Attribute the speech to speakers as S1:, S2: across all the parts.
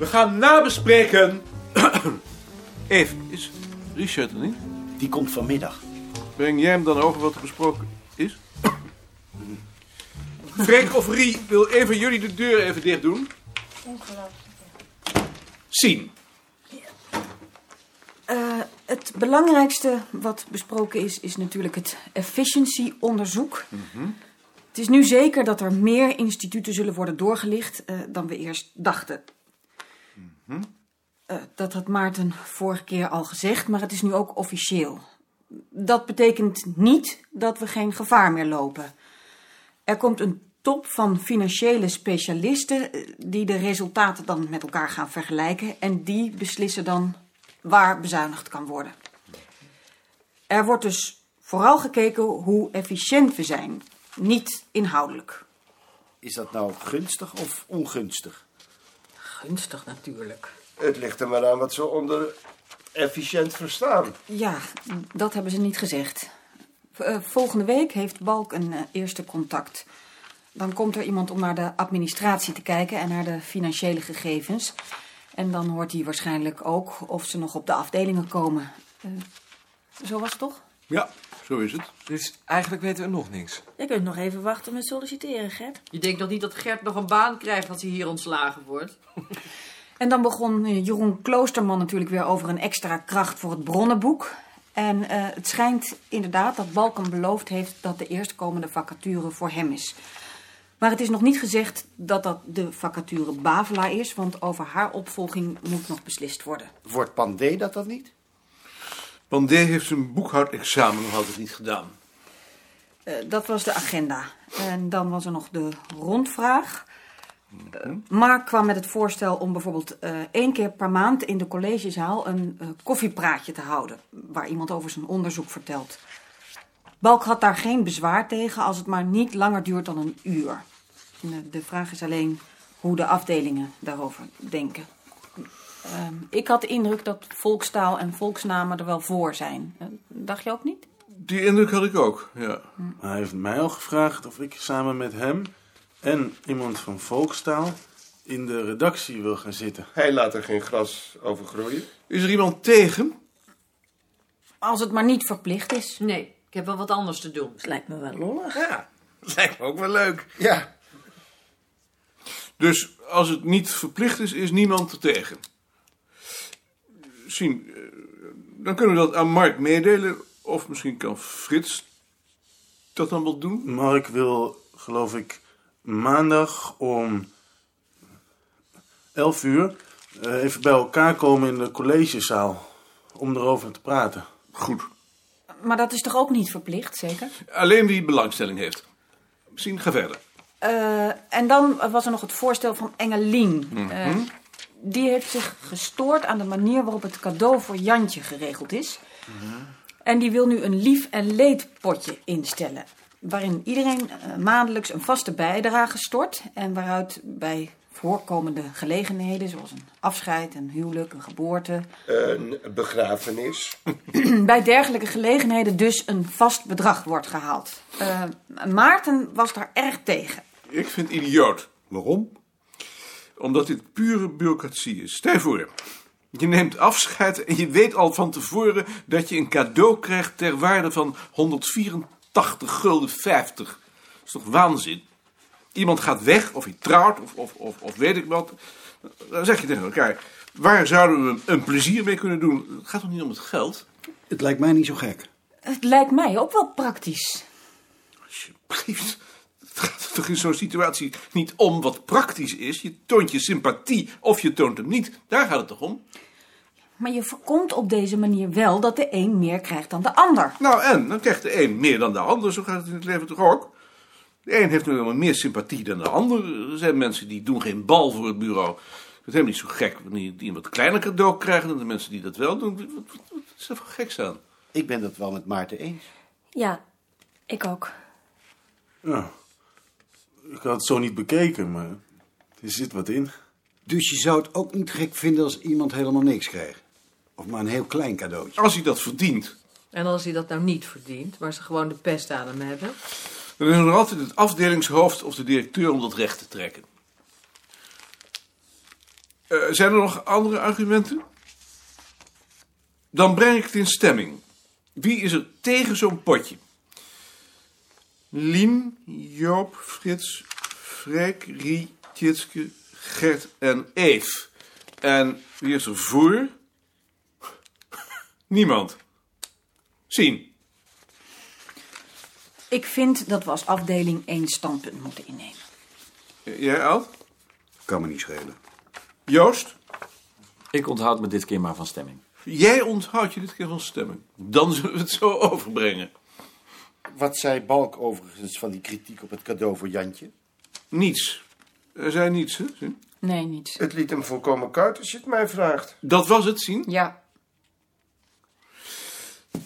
S1: gaan nabespreken. Eve, is Richard er niet?
S2: Die komt vanmiddag.
S1: Breng jij hem dan over wat er besproken is? Freek of Rie, wil een van jullie de deur even dicht doen? Zien.
S3: Eh, het belangrijkste wat besproken is, is natuurlijk het efficiency-onderzoek. Het is nu zeker dat er meer instituten zullen worden doorgelicht eh, dan we eerst dachten. Eh, dat had Maarten vorige keer al gezegd, maar het is nu ook officieel. Dat betekent niet dat we geen gevaar meer lopen. Er komt een top van financiële specialisten eh, die de resultaten dan met elkaar gaan vergelijken en die beslissen dan waar bezuinigd kan worden. Er wordt dus vooral gekeken hoe efficiënt we zijn, niet inhoudelijk.
S2: Is dat nou gunstig of ongunstig?
S3: Gunstig natuurlijk.
S4: Het ligt er maar aan wat ze onder efficiënt verstaan.
S3: Ja, dat hebben ze niet gezegd. V- eh, Volgende week heeft Balk een eh, eerste contact. Dan komt er iemand om naar de administratie te kijken en naar de financiële gegevens. En dan hoort hij waarschijnlijk ook of ze nog op de afdelingen komen. Eh, zo was het toch?
S1: Ja, zo is het.
S5: Dus eigenlijk weten we nog niks.
S6: Je kunt nog even wachten met solliciteren, Gert.
S7: Je denkt nog niet dat Gert nog een baan krijgt als hij hier ontslagen wordt?
S3: En dan begon eh, Jeroen Kloosterman natuurlijk weer over een extra kracht voor het bronnenboek. En eh, het schijnt inderdaad dat Balkan beloofd heeft dat de eerstkomende vacature voor hem is. Maar het is nog niet gezegd dat dat de vacature Bavela is, want over haar opvolging moet nog beslist worden.
S2: Wordt Pandé dat dan niet?
S1: Pandé heeft zijn boekhoudexamen nog altijd niet gedaan.
S3: Eh, dat was de agenda. En dan was er nog de rondvraag. Eh, Mark kwam met het voorstel om bijvoorbeeld eh, één keer per maand in de collegezaal een eh, koffiepraatje te houden. Waar iemand over zijn onderzoek vertelt. Balk had daar geen bezwaar tegen als het maar niet langer duurt dan een uur. En, eh, de vraag is alleen hoe de afdelingen daarover denken. Ehm, ik had de indruk dat volkstaal en volksnamen er wel voor zijn. Eh, dacht je ook niet?
S1: Die indruk had ik ook, ja.
S8: Hij heeft mij al gevraagd of ik samen met hem en iemand van Volkstaal in de redactie wil gaan zitten.
S4: Hij laat er geen gras over groeien.
S1: Is er iemand tegen?
S3: Als het maar niet verplicht is.
S7: Nee, ik heb wel wat anders te doen.
S6: Dat lijkt me wel lollig.
S4: Ja,
S1: Lijkt me ook wel leuk.
S4: ja.
S1: Dus als het niet verplicht is, is niemand er tegen. Zien, eh, dan kunnen we dat aan Mark meedelen. Of misschien kan Frits dat dan wel doen.
S8: Mark wil, geloof ik, maandag om 11 uur eh, even bij elkaar komen in de collegezaal om erover te praten.
S1: Goed.
S3: Maar dat is toch ook niet verplicht, zeker?
S1: Alleen wie belangstelling heeft. Misschien ga verder.
S3: Eh, en dan was er nog het voorstel van Engelien.
S4: Mhm.
S3: Eh, die heeft zich gestoord aan de manier waarop het cadeau voor Jantje geregeld is.
S4: Mhm.
S3: En die wil nu een lief- en leedpotje instellen. Waarin iedereen eh, maandelijks een vaste bijdrage stort. En waaruit bij voorkomende gelegenheden, zoals een afscheid, een huwelijk, een geboorte.
S4: Een begrafenis.
S3: Bij dergelijke gelegenheden dus een vast bedrag wordt gehaald. Eh, Maarten was daar erg tegen.
S1: Ik vind het idioot. Waarom? Omdat dit pure bureaucratie is. Stel je voor, je neemt afscheid en je weet al van tevoren dat je een cadeau krijgt ter waarde van 184 gulden 50. Dat is toch waanzin? Iemand gaat weg of hij trouwt of, of, of, of weet ik wat. Dan zeg je tegen elkaar, waar zouden we een plezier mee kunnen doen? Het gaat toch niet om het geld?
S9: Het lijkt mij niet zo gek.
S3: Het lijkt mij ook wel praktisch.
S1: Alsjeblieft. Het gaat er toch in zo'n situatie niet om wat praktisch is. Je toont je sympathie of je toont hem niet. Daar gaat het toch om?
S3: Maar je voorkomt op deze manier wel dat de een meer krijgt dan de ander.
S1: Nou en, dan krijgt de een meer dan de ander. Zo gaat het in het leven toch ook? De een heeft nu helemaal meer sympathie dan de ander. Er zijn mensen die doen geen bal voor het bureau. Het is helemaal niet zo gek wanneer die een wat kleiner cadeau krijgen dan de mensen die dat wel doen. Wat, wat- wat is er voor geks aan?
S2: Ik ben dat wel met Maarten eens.
S6: Ja, ik ook.
S8: Ja. Ik had het zo niet bekeken, maar er zit wat in.
S9: Dus je zou het ook niet gek vinden als iemand helemaal niks kreeg. Of maar een heel klein cadeautje.
S1: Als hij dat verdient,
S7: En als hij dat nou niet verdient, waar ze gewoon de pest aan hem hebben.
S1: dan is er nog altijd het afdelingshoofd of de directeur om dat recht te trekken. Eh, zijn er nog andere argumenten? Dan breng ik het in stemming. Wie is er tegen zo'n potje? Lien, Joop, Frits, Freek, Rie, Tjitske, Gert en Eef. En wie is er voor? Niemand. Zien.
S3: Ik vind dat we als afdeling één standpunt moeten innemen.
S1: Jij, Ad?
S9: Kan me niet schelen.
S1: Joost?
S10: Ik onthoud me dit keer maar van stemming.
S1: Jij onthoudt je dit keer van stemming. Dan zullen we het zo overbrengen.
S4: Wat zei Balk overigens van die kritiek op het cadeau voor Jantje?
S1: Niets. Er zijn niets, hè? Sien?
S7: Nee, niets.
S4: Het liet hem volkomen koud als je het mij vraagt.
S1: Dat was het, Zien.
S7: Ja,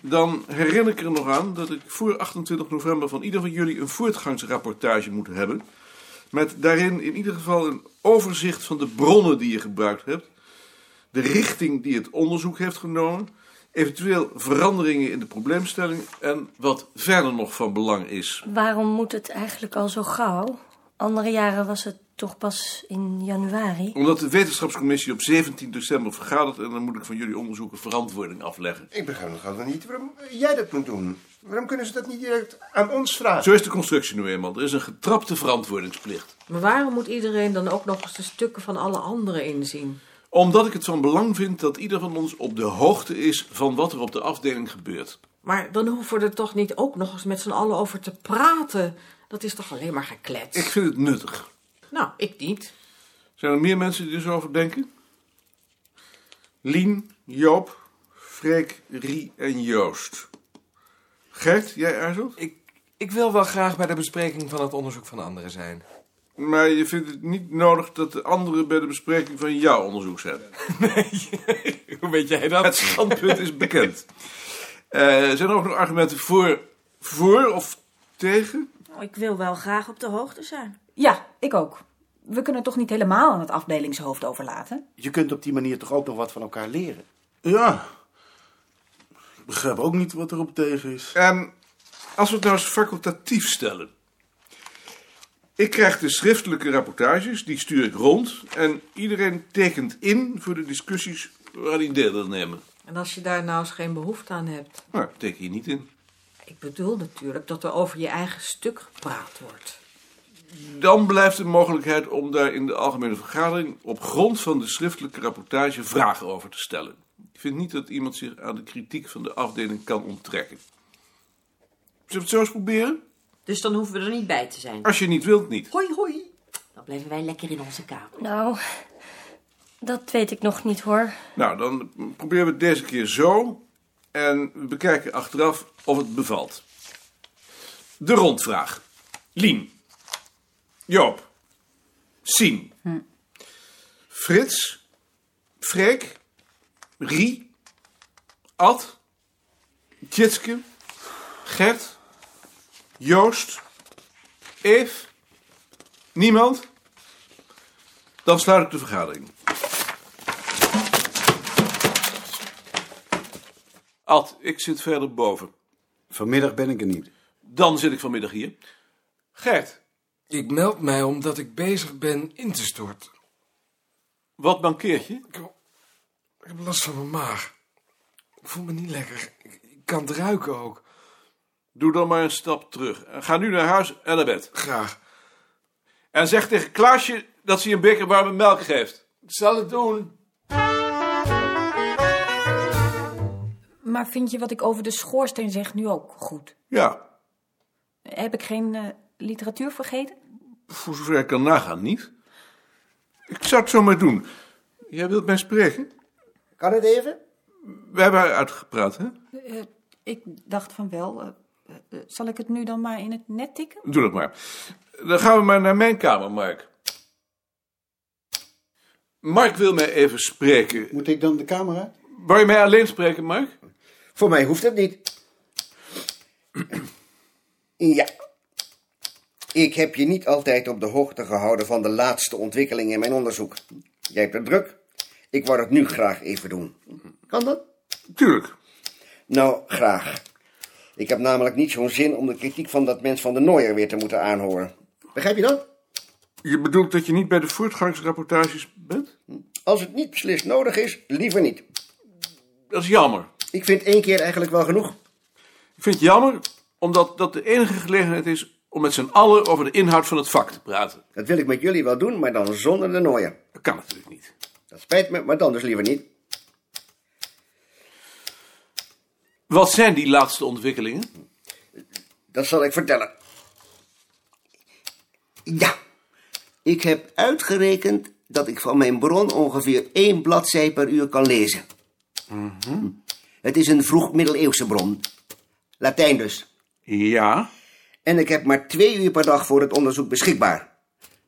S1: Dan herinner ik er nog aan dat ik voor 28 november van ieder van jullie een voortgangsrapportage moet hebben. Met daarin in ieder geval een overzicht van de bronnen die je gebruikt hebt. De richting die het onderzoek heeft genomen. Eventueel veranderingen in de probleemstelling. En wat verder nog van belang is.
S6: Waarom moet het eigenlijk al zo gauw? Andere jaren was het toch pas in januari.
S1: Omdat de wetenschapscommissie op 17 december vergadert. En dan moet ik van jullie onderzoeken verantwoording afleggen.
S4: Ik begrijp nog altijd niet waarom jij dat moet doen. Waarom kunnen ze dat niet direct aan ons vragen?
S1: Zo is de constructie nu eenmaal. Er is een getrapte verantwoordingsplicht.
S7: maar waarom moet iedereen dan ook nog eens de stukken van alle anderen inzien?
S1: Omdat ik het van belang vind dat ieder van ons op de hoogte is van wat er op de afdeling gebeurt.
S7: Maar dan hoeven we er toch niet ook nog eens met z'n allen over te praten? Dat is toch alleen maar geklets?
S1: Ik vind het nuttig.
S7: Nou, ik niet.
S1: Zijn er meer mensen die er zo over denken? Lien, Joop, Freek, Rie en Joost. Gert, jij aarzelt?
S5: Ik, ik wil wel graag bij de bespreking van het onderzoek van anderen zijn.
S1: Maar je vindt het niet nodig dat de anderen bij de bespreking van jouw onderzoek zijn.
S5: Hoe weet jij
S1: Het
S5: dat?
S1: standpunt is bekend. Eh, zijn er ook nog argumenten voor, voor of tegen?
S6: Oh, ik wil wel graag op de hoogte zijn.
S3: Ja, ik ook. We kunnen het toch niet helemaal aan het afdelingshoofd overlaten?
S2: Je kunt op die manier toch ook nog wat van elkaar leren.
S8: Ja. Ik begrijp ook niet wat erop tegen is.
S1: Ehm, als we het nou eens facultatief stellen. Ik krijg de schriftelijke rapportages, die stuur ik rond. En iedereen tekent in voor de discussies waar hij deel wil nemen.
S7: En als je daar nou eens geen behoefte aan hebt?
S1: Nou, ik teken je niet in.
S7: Ik bedoel natuurlijk dat er over je eigen stuk gepraat wordt.
S1: Dan blijft de mogelijkheid om daar in de algemene vergadering op grond van de schriftelijke rapportage vragen over te stellen. Ik vind niet dat iemand zich aan de kritiek van de afdeling kan onttrekken. Zullen we het zo eens proberen?
S11: Dus dan hoeven we er niet bij te zijn.
S1: Als je niet wilt, niet.
S11: Hoi, hoi. Dan blijven wij lekker in onze kamer.
S6: Nou, dat weet ik nog niet hoor.
S1: Nou, dan proberen we het deze keer zo. En we bekijken achteraf of het bevalt. De rondvraag. Lien. Joop. Sien. Frits. Freek. Rie. Ad. Tjitske. Gert. Joost. Eve. Niemand? Dan sluit ik de vergadering. Ad, ik zit verder boven.
S9: Vanmiddag ben ik er niet.
S1: Dan zit ik vanmiddag hier. Gert,
S5: Ik meld mij omdat ik bezig ben in te storten.
S1: wat mankeert je?
S5: Ik, ik heb last van mijn maag. Ik voel me niet lekker. Ik, ik kan het ruiken ook.
S1: Doe dan maar een stap terug. En Ga nu naar huis en naar bed.
S5: Graag.
S1: En zeg tegen Klaasje dat ze je een beker warme melk geeft.
S5: Ik zal het doen.
S3: Maar vind je wat ik over de schoorsteen zeg nu ook goed?
S1: Ja,
S3: Heb ik geen eh, literatuur vergeten?
S1: voor zover ik kan nagaan, niet? Ik zou het zo maar doen. Jij wilt mij spreken?
S4: Kan het even?
S1: We hebben haar uitgepraat, hè?
S3: Eh, ik dacht van wel. eh, eh, eh, zal ik het nu dan maar in het net tikken?
S1: Doe dat maar. Dan gaan we maar naar mijn kamer, Mark. Mark wil mij even spreken.
S9: Moet ik dan de camera?
S1: Wou je mij alleen spreken, Mark?
S4: Voor mij hoeft dat niet. Ja. Ik heb je niet altijd op de hoogte gehouden van de laatste ontwikkelingen in mijn onderzoek. Jij hebt het druk. Ik wou het nu graag even doen. Kan dat?
S1: Tuurlijk.
S4: Nou, graag. Ik heb namelijk niet zo'n zin om de kritiek van dat mens van de Nooier weer te moeten aanhoren. Begrijp je dat?
S1: Je bedoelt dat je niet bij de voortgangsrapportages bent?
S4: Als het niet beslist nodig is, liever niet.
S1: Dat is jammer.
S4: Ik vind één keer eigenlijk wel genoeg.
S1: Ik vind het jammer, omdat dat de enige gelegenheid is om met z'n allen over de inhoud van het vak te praten.
S4: Dat wil ik met jullie wel doen, maar dan zonder de nooien.
S1: Dat kan natuurlijk niet.
S4: Dat spijt me, maar dan dus liever niet.
S1: Wat zijn die laatste ontwikkelingen?
S4: Dat zal ik vertellen. Ja, ik heb uitgerekend dat ik van mijn bron ongeveer één bladzij per uur kan lezen.
S1: Mhm.
S4: Het is een vroeg middeleeuwse bron. Latijn dus.
S1: Ja.
S4: En ik heb maar twee uur per dag voor het onderzoek beschikbaar.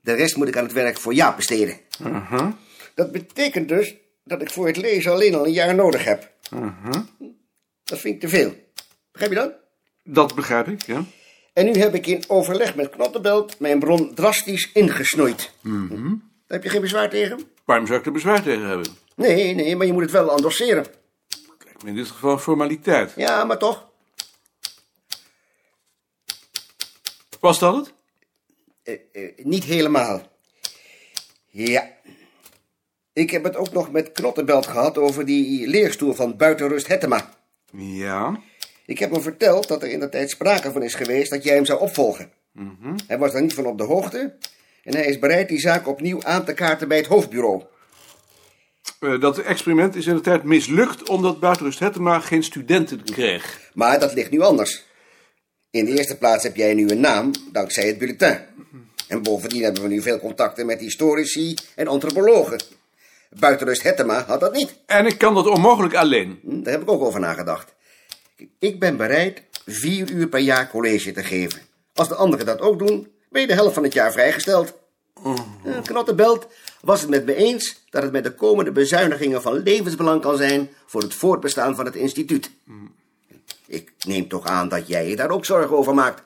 S4: De rest moet ik aan het werk voor Jaap besteden.
S1: Mhm.
S4: Dat betekent dus dat ik voor het lezen alleen al een jaar nodig heb.
S1: Mhm.
S4: Dat vind ik te veel. Begrijp je dat?
S1: Dat begrijp ik, ja.
S4: En nu heb ik in overleg met Knottenbelt mijn bron drastisch ingesnoeid.
S1: Mhm.
S4: Daar heb je geen bezwaar tegen?
S1: Waarom zou ik er bezwaar tegen hebben?
S4: Nee, nee, maar je moet het wel endosseren.
S1: In dit geval formaliteit.
S4: Ja, maar toch.
S1: Was dat het?
S4: Eh, eh, niet helemaal. Ja. Ik heb het ook nog met Knottenbelt gehad over die leerstoel van buitenrust Hettema.
S1: Ja.
S4: Ik heb hem verteld dat er in de tijd sprake van is geweest dat jij hem zou opvolgen.
S1: Mhm.
S4: Hij was daar niet van op de hoogte en hij is bereid die zaak opnieuw aan te kaarten bij het hoofdbureau.
S1: Eh, dat experiment is in de tijd mislukt omdat Buitenrust Hettema geen studenten kreeg.
S4: Maar dat ligt nu anders. In de eerste plaats heb jij nu een naam dankzij het bulletin. En bovendien hebben we nu veel contacten met historici en antropologen. Buitenrust Hettema had dat niet.
S1: En ik kan dat onmogelijk alleen.
S4: Daar heb ik ook over nagedacht. Ik ben bereid vier uur per jaar college te geven. Als de anderen dat ook doen, ben je de helft van het jaar vrijgesteld.
S9: Oh.
S4: Eh, Knottenbelt was het met me eens dat het met de komende bezuinigingen van levensbelang kan zijn voor het voortbestaan van het instituut.
S9: Hmm.
S4: Ik neem toch aan dat jij je daar ook zorgen over maakt.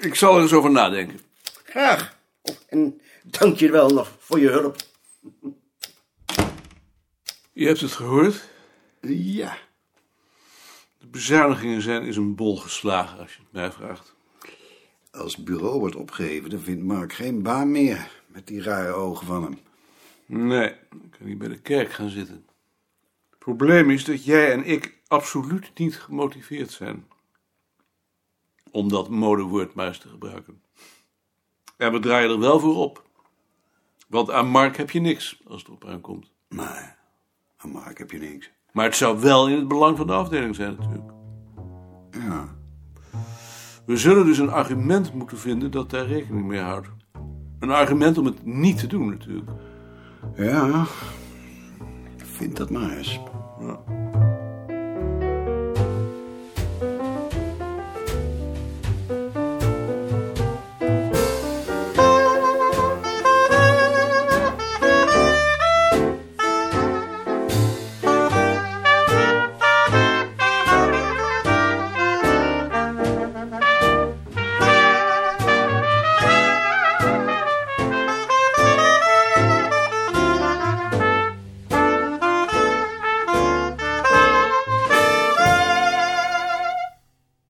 S1: Ik zal er eens over nadenken.
S4: Graag. Oh, En dank je wel nog voor je hulp.
S1: Je hebt het gehoord.
S9: Ja.
S1: De bezuinigingen zijn in een bol geslagen, als je het mij vraagt.
S9: Als het bureau wordt opgeheven, dan vindt Mark geen baan meer. Met die rare ogen van hem.
S1: Nee, ik kan niet bij de kerk gaan zitten. Het probleem is dat jij en ik absoluut niet gemotiveerd zijn. Om dat modewoord maar eens te gebruiken. En we draaien er wel voor op. Want aan Mark heb je niks, als het op aankomt.
S9: Nee, aan Mark heb je niks.
S1: Maar het zou wel in het belang van de afdeling zijn, natuurlijk.
S9: Ja.
S1: We zullen dus een argument moeten vinden dat daar rekening mee houdt. Een argument om het niet te doen, natuurlijk.
S9: Ja. Vind dat maar eens.
S1: Ja.